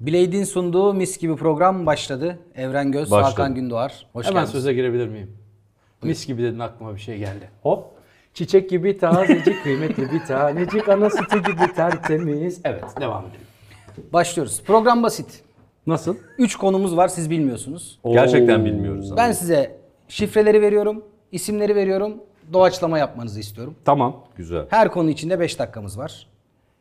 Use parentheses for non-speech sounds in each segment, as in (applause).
Blade'in sunduğu mis gibi program başladı. Evren Göz, Başladı. Hakan Gündoğar. Hoş Hemen geldiniz. söze girebilir miyim? Mis gibi dedin aklıma bir şey geldi. Hop. Çiçek gibi tazecik kıymetli bir tanecik ana sütü gibi tertemiz. Evet devam edelim. Başlıyoruz. Program basit. Nasıl? 3 konumuz var siz bilmiyorsunuz. Gerçekten bilmiyoruz ama. Ben size şifreleri veriyorum, isimleri veriyorum. Doğaçlama yapmanızı istiyorum. Tamam. Güzel. Her konu içinde 5 dakikamız var.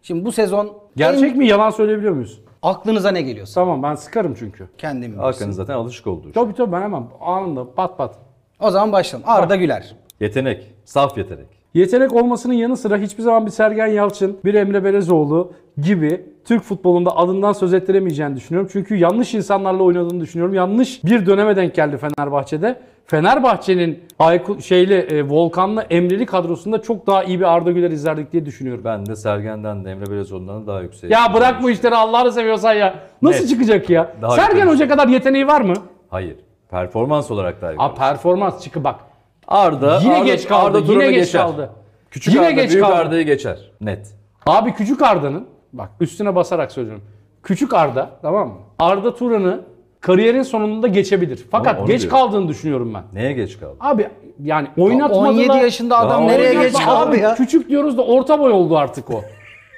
Şimdi bu sezon Gerçek en- mi yalan söyleyebiliyor muyuz? aklınıza ne geliyorsa Tamam ben sıkarım çünkü. kendim bilirsin. Hakan'ın zaten alışık olduğu şey. Tabii tabii ben hemen anında pat pat. O zaman başlayalım. Arda Güler. şey. Yetenek. Saf yetenek. Yetenek olmasının yanı sıra hiçbir zaman bir Sergen Yalçın, bir Emre Belezoğlu gibi Türk futbolunda adından söz ettiremeyeceğini düşünüyorum. Çünkü yanlış insanlarla oynadığını düşünüyorum. Yanlış bir döneme denk geldi Fenerbahçe'de. Fenerbahçe'nin Aykut şeyle e, Volkan'la Emre'li kadrosunda çok daha iyi bir Arda Güler izlerdik diye düşünüyorum. Ben de Sergen'den de Emre Belezoğlu'ndan daha yüksek. Ya bırak bu işleri Allah'ını seviyorsan ya. Nasıl Net. çıkacak ya? Daha şey. Sergen yukarı. Hoca kadar yeteneği var mı? Hayır. Performans olarak daha A yukarı. performans çıkı bak. Arda. Yine Arda- geç kaldı, Arda yine Turan'ı geç geçer. kaldı. Küçük Yine Arda geç büyük kaldı. Arda'yı geçer. Net. Abi Küçük Arda'nın bak üstüne basarak söylüyorum. Küçük Arda tamam mı? Arda Turan'ı kariyerin sonunda geçebilir. Fakat onu geç diyor. kaldığını düşünüyorum ben. Neye geç kaldı? Abi yani oynatmadılar. 17 yaşında adam Daha nereye Oynatma- geç kaldı Abi ya? Küçük diyoruz da orta boy oldu artık o.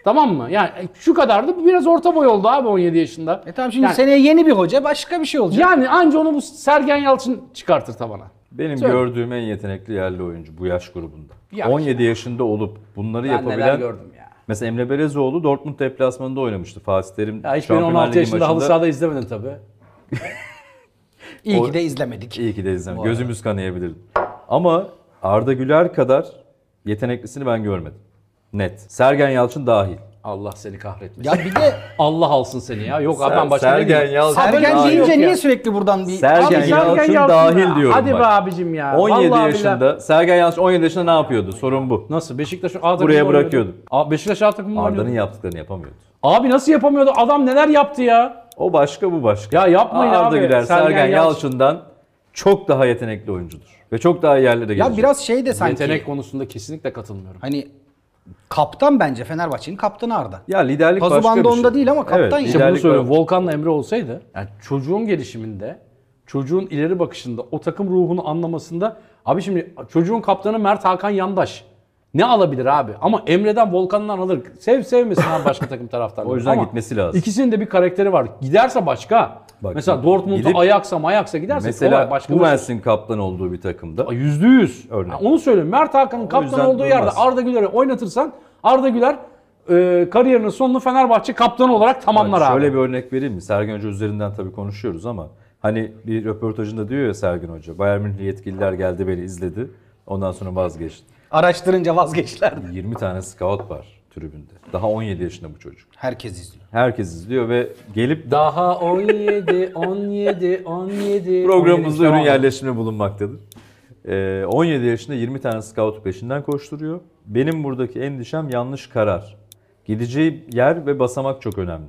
tamam mı? Yani e, şu kadardı bu biraz orta boy oldu abi 17 yaşında. E tamam şimdi yani, seneye yeni bir hoca başka bir şey olacak. yani anca onu bu Sergen Yalçın çıkartır tabana. Benim Söyle. gördüğüm en yetenekli yerli oyuncu bu yaş grubunda. Ya. 17 yaşında olup bunları yapabilen... ya. Mesela Emre Belezoğlu Dortmund deplasmanında oynamıştı. Fatih Terim Ya hiç beni Şampiyonlar 16 Ligi yaşında halı maçında- sahada izlemedin tabii. İyi O- ki de izlemedik. İyi ki de izlemedim. Gözümüz kanayabilirdi. Ama Arda Güler kadar yeteneklisini ben görmedim. Net. Sergen Yalçın dahil. Allah seni kahretmesin. Ya bir de Allah alsın seni ya. Yok abi ben başka ne Sergen diyeyim? Yalçın Sergen Sergen dahil. yok deyince ya. niye sürekli buradan bir... Sergen Abi Yalçın Yalçın dahil ya. diyorum Hadi bak. be abicim ya. 17 Vallahi billahi. yaşında Sergen Yalçın 17 yaşında ne yapıyordu? Sorun bu. Nasıl Beşiktaş A takımında Buraya oynuyordu. bırakıyordum. Aa, Beşiktaş A takımında Arda'nın oynuyordu. yaptıklarını yapamıyordu. Abi nasıl yapamıyordu? Adam neler yaptı ya? O başka bu başka. Ya yapmayın Arda abi. Güler Sergen Sergen, Yalçın. Yalçın'dan çok daha yetenekli oyuncudur. Ve çok daha iyi yerlere gelecek. Ya biraz şey de sanki... Yetenek konusunda kesinlikle katılmıyorum. Hani kaptan bence Fenerbahçe'nin kaptanı Arda. ya liderlik Pazu başka bir bandı şey. onda değil ama kaptan evet, ya. liderlik İşte İşte bunu var. söylüyorum. Volkan'la Emre olsaydı yani çocuğun gelişiminde, çocuğun ileri bakışında, o takım ruhunu anlamasında abi şimdi çocuğun kaptanı Mert Hakan Yandaş. Ne alabilir abi? Ama Emre'den Volkan'dan alır. Sev sevmesin abi başka takım taraftarları. (laughs) O yüzden Ama gitmesi lazım. İkisinin de bir karakteri var. Giderse başka. Bak, mesela Dortmund'a gidip- Ajax'a Ajax'a giderse kolay, Mesela başka bir Hummels'in kaptan olduğu bir takımda. Ay, Yüzde yüz. Örnek. Yani onu söylüyorum. Mert Hakan'ın kaptan yüzden olduğu yerde durmaz. Arda Güler'i oynatırsan Arda Güler e, kariyerinin sonunu Fenerbahçe kaptanı olarak tamamlar Bak, abi. Şöyle bir örnek vereyim mi? Sergen Hoca üzerinden tabii konuşuyoruz ama hani bir röportajında diyor ya Sergen Hoca. Bayern Münih yetkililer geldi beni izledi. Ondan sonra vazgeçti. Araştırınca vazgeçtiler. 20 tane scout var tribünde. Daha 17 yaşında bu çocuk. Herkes izliyor. Herkes izliyor ve gelip Daha 17, 17, 17. programımızda 17 ürün devam. yerleştirme bulunmaktadır. Ee, 17 yaşında 20 tane scout peşinden koşturuyor. Benim buradaki endişem yanlış karar. Gideceği yer ve basamak çok önemli.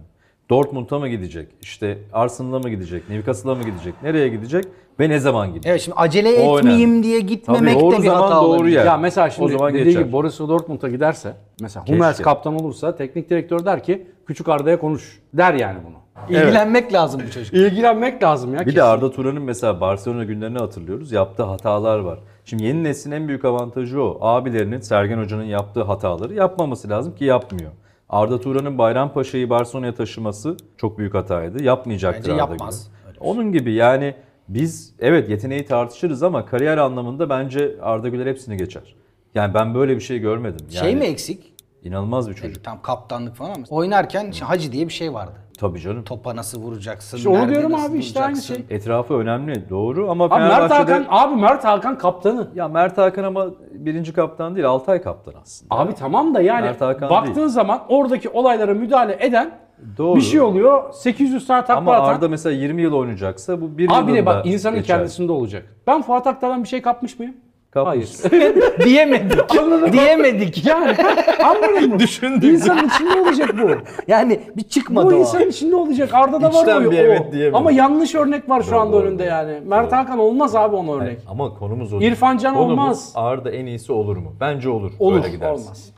Dortmund'a mı gidecek? İşte Arsenal'a mı gidecek? Newcastle'a mı gidecek? Nereye gidecek? Ve ne zaman gidecek? Evet şimdi acele O etmeyeyim önemli. diye Tabii gitmemek doğru de bir zaman hata doğru olabilir. yer. Ya mesela şimdi O zaman dediği geçer. gibi Borussia Dortmund'a giderse mesela Hummels kaptan olursa teknik direktör der ki küçük Arda'ya konuş der yani bunu. İlgilenmek lazım bu çocuk. İlgilenmek lazım ya. Bir de Arda Turan'ın mesela Barcelona günlerini hatırlıyoruz. Yaptığı hatalar var. Şimdi yeni neslin en büyük avantajı o. Abilerinin Sergen Hoca'nın yaptığı hataları yapmaması lazım ki yapmıyor. Arda Turan'ın Bayrampaşa'yı Barcelona'ya taşıması çok büyük hataydı. Yapmayacaktır Bence Arda yapmaz. şey. Güler. Onun gibi yani biz evet yeteneği tartışırız ama kariyer anlamında bence Arda Güler hepsini geçer. Yani ben böyle bir şey görmedim. Yani Şey mi eksik? İnanılmaz bir çocuk. Tam kaptanlık falan ama. Oynarken şimdi Hacı diye bir şey vardı. Tabii canım. Topa nasıl vuracaksın? İşte onu nerede diyorum nasıl abi, işte aynı duracaksın? şey. Etrafı önemli doğru ama Abi Mert Fenerbahçe'de- Hakan, abi Mert Hakan kaptanı. Ya Mert Hakan ama birinci kaptan değil, Altay kaptan aslında. Abi tamam da yani Mert Hakan baktığın değil. zaman oradaki olaylara müdahale eden Doğru. bir şey oluyor. 800 tane takla Ama atan. Arda mesela 20 yıl oynayacaksa bu bir Abi yılında de bak insanın geçer. kendisinde olacak. Ben Fuat Aktar'dan bir şey kapmış mıyım? Kapmış. Hayır. (laughs) (laughs) Diyemedik. (laughs) Diyemedik. yani anladın mı? Düşündüm. İnsanın içinde olacak (laughs) bu. Yani bir çıkmadı Bu o. insanın içinde olacak. Arda'da var İçten o. bir evet diyemiyorum. Ama yanlış örnek var şu Doğru, anda doğru, önünde doğru. yani. Mert Hakan olmaz abi onun örnek. Ama konumuz o. İrfan Can Konumuz olmaz. Arda en iyisi olur mu? Bence olur. Olur. Böyle gidersin. Olmaz.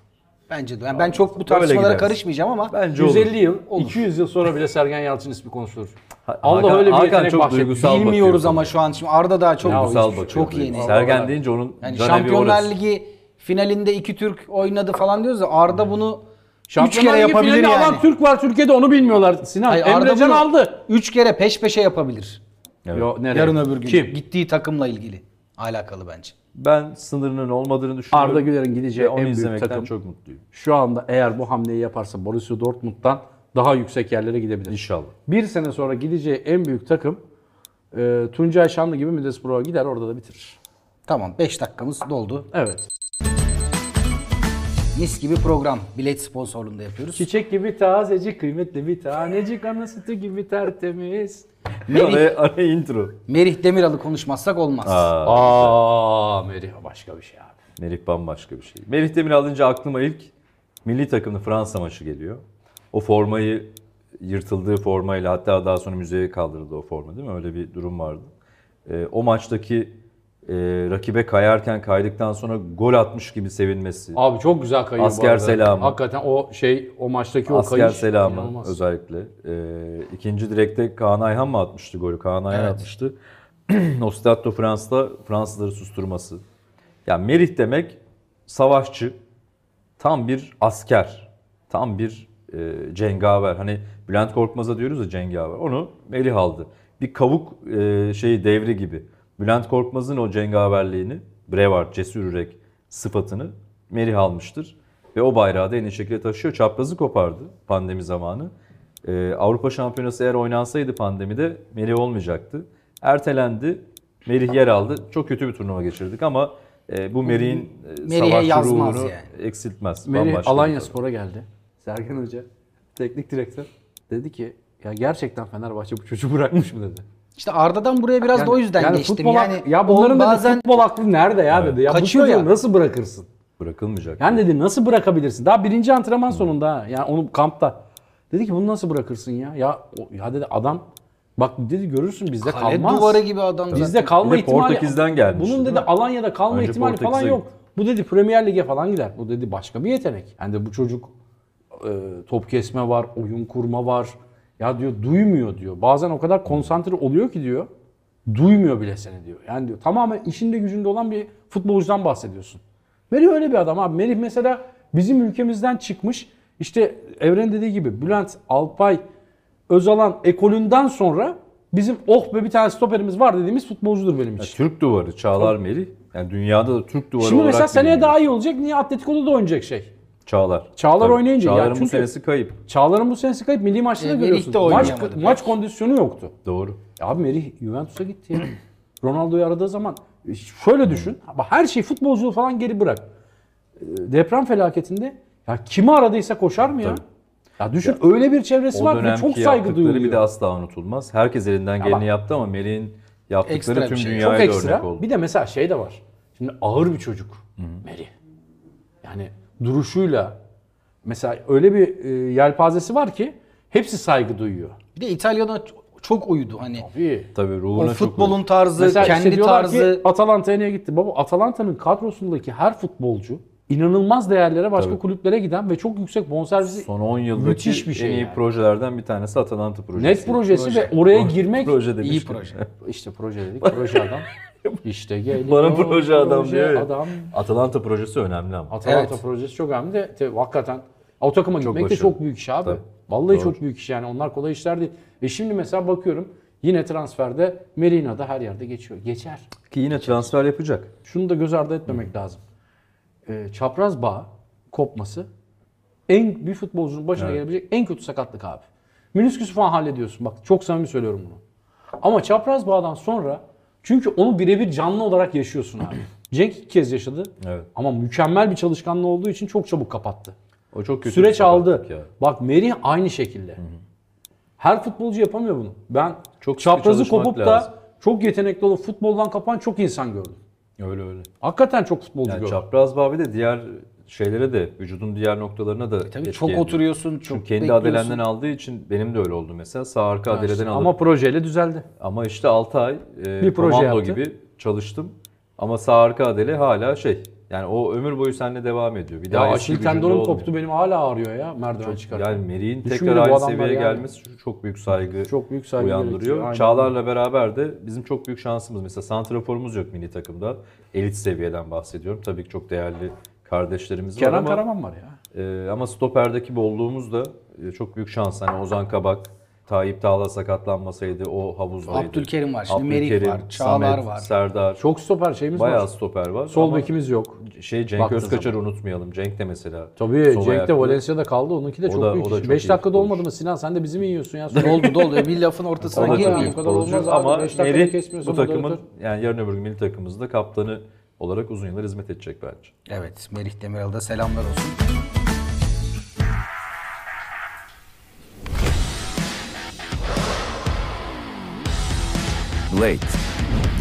Bence de. Yani ben çok bu tartışmalara gideriz. karışmayacağım ama Bence olur. 150 yıl, Olur. 200 yıl sonra bile Sergen Yalçın ismi konuşulur. Ha- Allah Hakan- öyle bir Hakan yetenek çok bahsetmiş. duygusal bakıyor. bilmiyoruz ama şu an. Şimdi Arda daha çok Duygusal çok, bakıyor. çok duygusal. şey yeni. Sergen deyince onun Yani can evi Şampiyonlar orası. Ligi finalinde iki Türk oynadı falan diyoruz ya Arda bunu 3 Şampiyonlar kere Ligi yapabilir finalinde yani. alan Türk var Türkiye'de onu bilmiyorlar Sinan. Hayır, Arda Emrecan bunu- aldı. Üç kere peş peşe yapabilir. Evet. Yo, nereye? Yarın öbür gün. Kim? Gittiği takımla ilgili. Alakalı bence. Ben sınırının olmadığını düşünüyorum. Arda Güler'in Ve gideceği en onu büyük izlemekten takım. çok mutluyum. Şu anda eğer bu hamleyi yaparsa Borussia Dortmund'dan daha yüksek yerlere gidebilir. İnşallah. Bir sene sonra gideceği en büyük takım e, Tuncay Şanlı gibi Middlesbrough'a gider orada da bitirir. Tamam 5 dakikamız doldu. Evet. Mis gibi program. Bilet sponsorluğunda yapıyoruz. Çiçek gibi tazecik kıymetli bir tanecik ana sütü gibi tertemiz. Merih, Araya, araya intro. Merih Demiral'ı konuşmazsak olmaz. Aa, Aa Merih başka bir şey abi. Merih bambaşka bir şey. Merih Demir alınca aklıma ilk milli takımlı Fransa maçı geliyor. O formayı yırtıldığı formayla hatta daha sonra müzeye kaldırıldı o forma değil mi? Öyle bir durum vardı. Ee, o maçtaki e, rakibe kayarken kaydıktan sonra gol atmış gibi sevinmesi. Abi çok güzel kayıyor bu Asker arada. selamı. Hakikaten o şey o maçtaki o Asker kayış. selamı inanılmaz. özellikle. Ee, ikinci direkte Kaan Ayhan mı atmıştı golü? Kaan Ayhan Evet. atmıştı. (clears throat) o Stade de France'da Fransızları susturması. Yani Merih demek savaşçı, tam bir asker, tam bir e, cengaver. Hani Bülent Korkmaz'a diyoruz ya cengaver. Onu Merih aldı. Bir kavuk e, şeyi devri gibi. Bülent Korkmaz'ın o cengaverliğini, brevard, cesur yürek sıfatını Merih almıştır. Ve o bayrağı da en iyi şekilde taşıyor. Çaprazı kopardı pandemi zamanı. E, Avrupa Şampiyonası eğer oynansaydı pandemide Merih olmayacaktı. Ertelendi. Merih yer aldı. Çok kötü bir turnuva geçirdik ama e, bu Merih'in e, Merih'e savaşçı yazmaz ruhunu yani. eksiltmez. Merih Bambaşka Alanya bir taraf. Spor'a geldi. Sergen Hoca, teknik direktör dedi ki ya gerçekten Fenerbahçe bu çocuğu bırakmış mı dedi. İşte Arda'dan buraya biraz da o yüzden yani geçtim. Futbol yani hak- ya bunların o bazen bazen futbol aklı nerede ya dedi. Ya bu Kaçıyor çocuğu ya. nasıl bırakırsın? Bırakılmayacak. Yani dedi nasıl bırakabilirsin? Daha birinci antrenman sonunda ha. yani onu kampta. Dedi ki bunu nasıl bırakırsın ya? Ya, o- ya dedi adam bak dedi görürsün bizde kale kalmaz. duvarı gibi adam Bizde zaten. kalma Bir de ihtimali. Portekiz'den gelmişti, Bunun dedi değil mi? Alanya'da kalma Önce ihtimali falan Portekiz'e yok. Bu dedi Premier Lig'e falan gider. Bu dedi başka bir yetenek. Yani de bu çocuk e, top kesme var, oyun kurma var. Ya diyor duymuyor diyor. Bazen o kadar konsantre oluyor ki diyor. Duymuyor bile seni diyor. Yani diyor tamamen işinde gücünde olan bir futbolcudan bahsediyorsun. Merih öyle bir adam abi. Merih mesela bizim ülkemizden çıkmış. İşte Evren dediği gibi Bülent, Alpay, Özalan ekolünden sonra bizim oh be bir tane stoperimiz var dediğimiz futbolcudur benim için. Yani Türk duvarı Çağlar Merih. Yani dünyada da Türk duvarı Şimdi olarak mesela seneye biliniyor. daha iyi olacak. Niye Atletico'da da oynayacak şey? Çağlar. Çağlar oynayınca ya Çağlar'ın bu çünkü- senesi kayıp. Çağlar'ın bu senesi kayıp milli maçta da E, Merih görüyorsun. de maç, oynayamadı belki. maç kondisyonu yoktu. Doğru. Ya abi Merih Juventus'a gitti ya. (clears throat) Ronaldo'yu aradığı zaman e, şöyle düşün. ama Her şey futbolculuğu falan geri bırak. E, Deprem felaketinde ya kimi aradıysa koşar mı ya? Tabii. Ya düşün öyle bir çevresi O var ve dönemki çok saygı yaptıkları duyuluyor. bir de asla unutulmaz. Herkes elinden geleni yaptı ama Merih'in Ekstra bir yaptıkları tüm şey. dünyaya çok da ekstra. örnek oldu. Bir de mesela şey de var. Şimdi ağır bir çocuk Meri. Yani duruşuyla mesela öyle bir e, yelpazesi var ki hepsi saygı duyuyor. Bir de İtalya'da ç- çok uyudu hani. Tabii. Tabii O ruhuna çok uygun. futbolun tarzı, Mesela işte kendi diyorlar tarzı. ki Atalanta'ya niye gitti? Baba Atalanta'nın kadrosundaki her futbolcu inanılmaz değerlere başka Tabii. kulüplere giden ve çok yüksek bonservisi Son 10 yıldaki Müthiş bir şey en iyi yani. projelerden bir tanesi Atalanta projesi. net projesi Proje. ve oraya girmek Proje iyi demiştim. proje. işte proje dedik proje (laughs) adam. İşte geliyor. Bana proje adam diyor ya. adam. Atalanta projesi önemli ama. Atalanta Evet. projesi çok önemli de tabii hakikaten o takıma gitmek de başarılı. çok büyük iş abi. Tabii. Vallahi Doğru. çok büyük iş yani onlar kolay işler değil. E şimdi mesela bakıyorum yine transferde Merina'da her yerde geçiyor. Geçer. Ki yine transfer yapacak. Şunu da göz ardı etmemek lazım. E, çapraz bağ kopması en bir futbolcunun başına gelebilecek en kötü sakatlık abi. Menisküsü falan hallediyorsun. Bak çok samimi söylüyorum bunu. Ama çapraz bağdan sonra çünkü onu birebir canlı olarak yaşıyorsun (clears throat) abi. Cenk iki kez yaşadı. Evet. Ama mükemmel bir çalışkanlığı olduğu için çok çabuk kapattı. O çok kötü. bir şey. Süreç sakatlık aldı. ya. Bak Merih aynı şekilde. Her futbolcu yapamıyor bunu. Ben Çok çok sıkı çaprazı çalışmak kopup lazım. da çok yetenekli olup futboldan kapan çok insan gördüm. Öyle öyle. Hakikaten çok futbolcu Yani gördüm. çapraz bağ bir de diğer şeylere de vücudun diğer noktalarına E da Tabii etki çok ediyor. oturuyorsun, Çünkü çok kendi bekliyorsun. adelenden aldığı için benim de öyle oldu mesela. Sağ arka adeleden aldım. Ama projeyle düzeldi. Ama işte 6 ay e, Bir proje komando yaptı. gibi çalıştım. Ama sağ arka adele hala şey Yani o ömür boyu seninle devam ediyor. Bir Ya daha eski Aşil gücünde tendonum olmuyor. koptu benim hala ağrıyor ya merdiven çıkarken. Yani Meri'nin Düşünmedi tekrar bu aynı adamlar seviyeye yani. gelmesi şu- çok büyük saygı, Çok büyük saygı gerektiriyor, uyandırıyor. aynen. Çağlar'la beraber de bizim çok büyük şansımız. Mesela santraforumuz yok milli takımda. Elit seviyeden bahsediyorum. Tabii ki çok değerli kardeşlerimiz var Kenan ama Karaman var ya. e, ama stoperdeki bolluğumuz da e, çok büyük şans. Hani Ozan Kabak, Tayyip Tağla sakatlanmasaydı o havuzdaydı. Abdülkerim var şimdi, Merih var, Çağlar Samet, var. Serdar. Çok stoper şeyimiz Bayağı var. stoper var. Sol Ama bekimiz yok. şey Cenk Baktığın Özkaçar'ı unutmayalım. Cenk de mesela. Tabii sol Cenk de ayaklı. Valencia'da kaldı. Onunki de O çok da- büyük. o da iş. çok Beş iyi dakikada futbolcu. olmadı mı Sinan? Sen de bizi mi yiyorsun (laughs) ya? Doldu doldu. Bir lafın ortasına Ona Ona girmeyin. girmeyin. tabii Bu kadar olmaz abi. ama Beş dakikada Merih kesmiyorsun bu bu takımın dörtü. yani yarın öbür gün milli takımımızda kaptanı olarak uzun yıllar hizmet edecek bence. Evet Merih Demiral'da selamlar olsun. Late.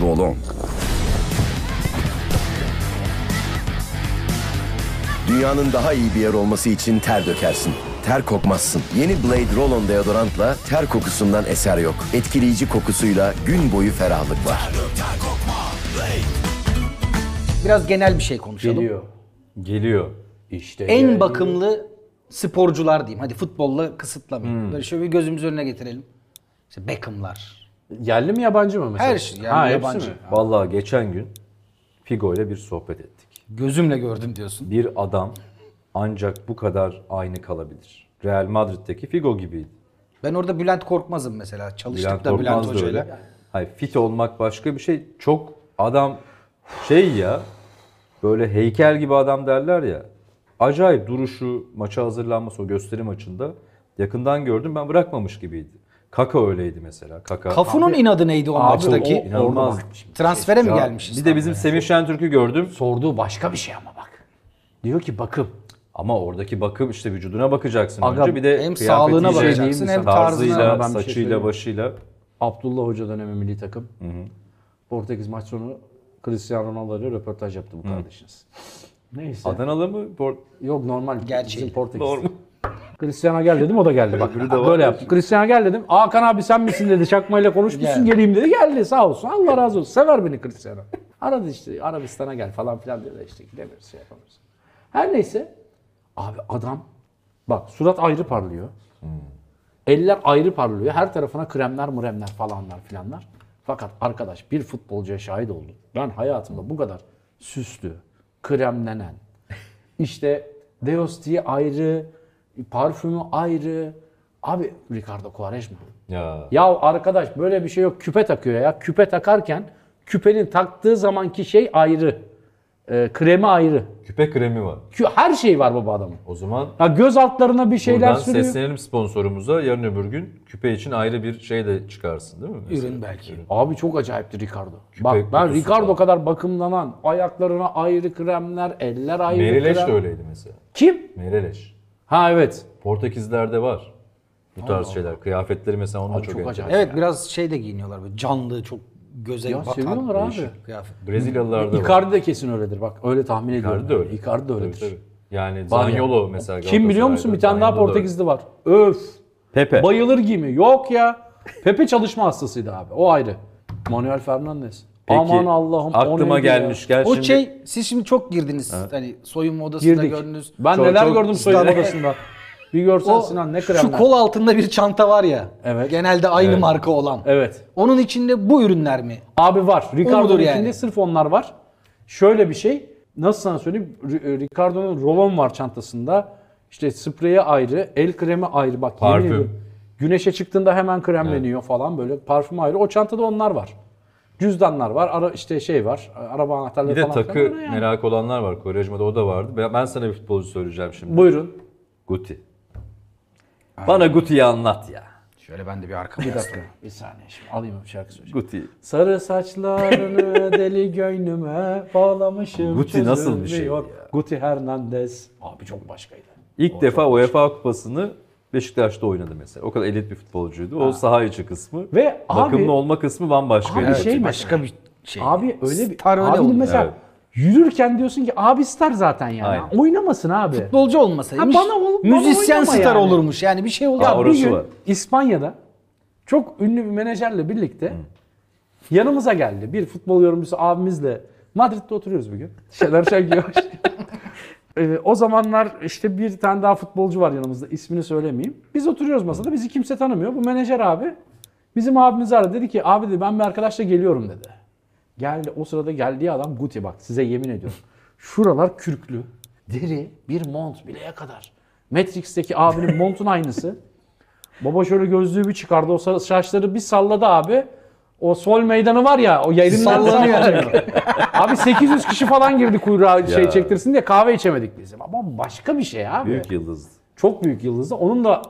Roll on. Dünyanın daha iyi bir yer olması için ter dökersin. Ter kokmazsın. Yeni Blade Roll-On deodorantla ter kokusundan eser yok. Etkileyici kokusuyla gün boyu ferahlık var. Biraz genel bir şey konuşalım. Geliyor. Geliyor. İşte En yani. bakımlı sporcular diyeyim. Hadi futbolla kısıtlamayayım. Hmm. Böyle şöyle bir gözümüz önüne getirelim. İşte Beckham'lar. Yerli mi yabancı mı mesela? Her şey, yerli, hepsi yabancı. mi? Vallahi geçen gün Figo ile bir sohbet ettik. Gözümle gördüm diyorsun. Bir adam ancak bu kadar aynı kalabilir. Real Madrid'deki Figo gibiydi. Ben orada Bülent Korkmaz'ım mesela. Çalıştık Bülent da Bülent Korkmaz da Hoca'yla. öyle. Hayır fit olmak başka bir şey. Çok adam şey ya böyle heykel gibi adam derler ya. Acayip duruşu, maça hazırlanması o gösteri maçında yakından gördüm ben bırakmamış gibiydi. Kaka öyleydi mesela. Kaka. Kafunun inadı neydi o Abi maçtaki? o- inanılmaz. Transfere mi Ya, gelmişiz? Bir de bizim Semih Şentürk'ü gördüm. Sorduğu başka bir şey ama bak. Diyor ki bakım. Ama oradaki bakım işte vücuduna bakacaksın Aga, önce. Bir de hem kıyafetiyle, sağlığına şey diyeyim bakacaksın mi hem sana? tarzına. tarzıyla, Ben bir şey saçıyla, söyleyeyim. başıyla. Abdullah Hoca dönemi milli takım. Portekiz maç sonu Cristiano Ronaldo ile röportaj yaptı bu kardeşiniz. Neyse. Adanalı mı? Bor- Yok normal. Gerçeği. Bizim Portekiz. Normal. Cristiano gel dedim o da geldi bak. Öbürü de var böyle ya. yaptım. Cristiano gel dedim. Hakan abi sen misin dedi. Çakmayla konuşmuşsun Geldi. geleyim dedi. Geldi sağ olsun. Allah razı olsun. Sever beni Cristiano. Aradı işte Arabistan'a gel falan filan dedi. işte gidemiyoruz şey yapamıyoruz. Her neyse. Abi adam bak surat ayrı parlıyor. Hmm. Eller ayrı parlıyor. Her tarafına kremler muremler falanlar filanlar. Fakat arkadaş bir futbolcuya şahit oldum. Ben hayatımda bu kadar süslü, kremlenen, işte Deosti ayrı, parfümü ayrı. Abi Ricardo Quaresma. Ya. Ya arkadaş böyle bir şey yok. Küpe takıyor ya. Küpe takarken küpenin taktığı zamanki şey ayrı. Ee, kremi ayrı. Küpe kremi var. Kü- Her şey var baba adamın. O zaman Ya göz altlarına bir şeyler Buradan sürüyor. seslenelim sponsorumuza. Yarın öbür gün küpe için ayrı bir şey de çıkarsın değil mi? Mesela? Ürün belki. Abi çok acayipti Ricardo. Bak ben kutusu Ricardo falan. kadar bakımlanan, ayaklarına ayrı kremler, eller ayrı Merileş krem. de öyleydi mesela. Kim? Merileş. Ha evet. Portekizlerde var. Bu tarz şeyler. Kıyafetleri mesela onunla Abi çok, çok, çok acayip. Evet biraz şey de giyiniyorlar böyle canlı çok göze Ya batan. seviyorlar abi. değişik kıyafet. Brezilyalılarda var. Icardi de kesin öyledir bak. Öyle tahmin ediyorum. Icardi de öyle. Icardi de Tabii, öyledir. tabii. Yani Var ya. Zaniolo mesela Kim biliyor musun? Bir tane daha Zaniolo da öyle. Portekizli var. Öf. Pepe. Bayılır giyimi. Yok ya. Pepe çalışma hastasıydı abi. O ayrı. Manuel Fernandes. Peki, Aman Allah'ım. o Aklıma neydi ya? gelmişken O şimdi şey siz şimdi çok girdiniz hani soyunma odasında Girdik. gördünüz. Ben Çok- neler çok gördüm soyunma ısrar- (laughs) odasında. Bir görsen O Sinan ne kremler. şu kol altında bir çanta var ya. Evet. Genelde aynı marka olan. Evet. Onun içinde bu ürünler mi? Abi var. Ricardo'nun yani. içinde sırf onlar var. Şöyle bir şey. Nasıl sana söyleyeyim? R- Ricardo'nun rolon var çantasında. İşte spreyi ayrı, el kremi ayrı. Bak yemin Parfüm. ediyorum. Güneşe çıktığında hemen kremleniyor falan böyle. Parfüm ayrı. O çantada onlar var. Cüzdanlar var. Ara işte şey var. Araba anahtarları bir de falan. filan takı var yani. merak olanlar var. Koreojma'da o da vardı. Ben, ben sana bir futbolcu söyleyeceğim şimdi. Buyurun. Guti. Bana Guti'yi anlat ya. Şöyle ben de bir arka Bir dakika. Bir saniye şimdi alayım bir şarkı söyleyeceğim. Guti. Sarı (laughs) saçlarını deli göynüme bağlamışım. Guti nasıl bir şey çözülmüyor. ya? Guti Hernandez. Abi çok başkaydı. İlk defa UEFA kupasını Beşiktaş'ta oynadı mesela. O kadar elit bir futbolcuydu. O saha içi kısmı. Ve abi- bakımlı olma kısmı bambaşka. Abi bir şey mi? Başka bir şey. Abi öyle bir Star öyle abi oluyor. mesela Evet. yürürken diyorsun ki abi star zaten yani. Aynen. Oynamasın abi. Futbolcu olmasaymış. Ha, bana ol- bana müzisyen oynama star yani. olurmuş. Yani bir şey olur. Aa, Ya, or- bir orası gün var. İspanya'da çok ünlü bir menajerle birlikte yanımıza geldi. Bir futbol yorumcusu abimizle Madrid'de oturuyoruz bugün. Şener (laughs) Şengiyor. Ee, o zamanlar işte bir tane daha futbolcu var yanımızda. ismini söylemeyeyim. Biz oturuyoruz masada. Bizi kimse tanımıyor. Bu menajer abi bizim abimiz aradı. Dedi ki abi dedi, ben bir arkadaşla geliyorum dedi. Geldi. O sırada geldiği adam Guti bak size yemin ediyorum. Şuralar kürklü. Deri bir mont bileğe kadar. Matrix'teki abinin montun aynısı. Baba şöyle gözlüğü bir çıkardı. O sa- saçları bir salladı abi. O sol meydanı var ya o yerinden (laughs) Sallanıyor. sallanıyor. abi 800 kişi falan girdi kuyruğa şey Ya. çektirsin diye kahve içemedik biz. Ama başka bir şey abi. Büyük yıldızdı. Çok büyük yıldızdı. Onun da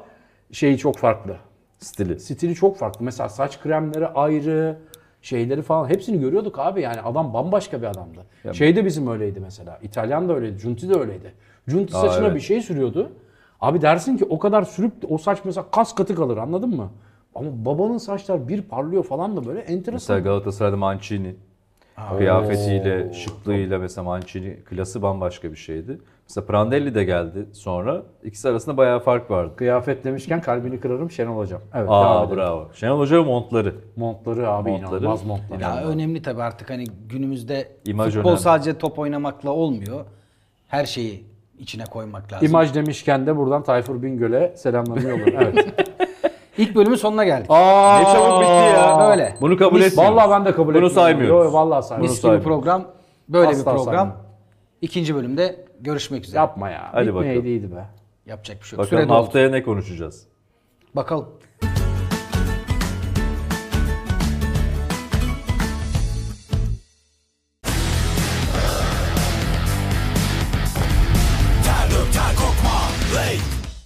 şeyi çok farklı. Stili. Stili çok farklı. Mesela saç kremleri ayrı, şeyleri falan hepsini görüyorduk abi. Yani adam bambaşka bir adamdı. Şey de bizim öyleydi mesela. İtalyan da öyleydi, Junti de öyleydi. Junti Aa, saçına evet. bir şey sürüyordu. Abi dersin ki o kadar sürüp de o saç mesela kas katı kalır anladın mı? Ama babanın saçlar bir parlıyor falan da böyle enteresan. Mesela Galatasaray'da Mancini. Kıyafetiyle, şıklığıyla mesela Mancini klası bambaşka bir şeydi. Mesela Prandelli de geldi sonra. İkisi arasında bayağı fark vardı. Kıyafet demişken kalbini kırarım Şenol Hocam. Evet devam Aa edelim. bravo. Şenol Hoca montları. Montları abi Montları. inanılmaz montlar. Ya önemli tabii artık hani günümüzde İmaj futbol önemli. sadece top oynamakla olmuyor. Her şeyi içine koymak lazım. İmaj demişken de buradan Tayfur Bingöl'e selamlarımı yollarım. Evet. (laughs) İlk bölümün sonuna geldik. Aa, Ne çabuk bitti ya. Böyle. Bunu kabul Mis- etmiyoruz. Vallahi ben de kabul Bunu etmiyorum. saymıyoruz. Yo, vallahi saymıyorum. Mis gibi saymıyorum. program. Böyle Asla bir program. saymam. İkinci bölümde görüşmek üzere. Yapma ya. Hadi Bitmeyeydiydi be. Yapacak bir şey yok. Bakalım Süre doldu. haftaya ne konuşacağız? Bakalım.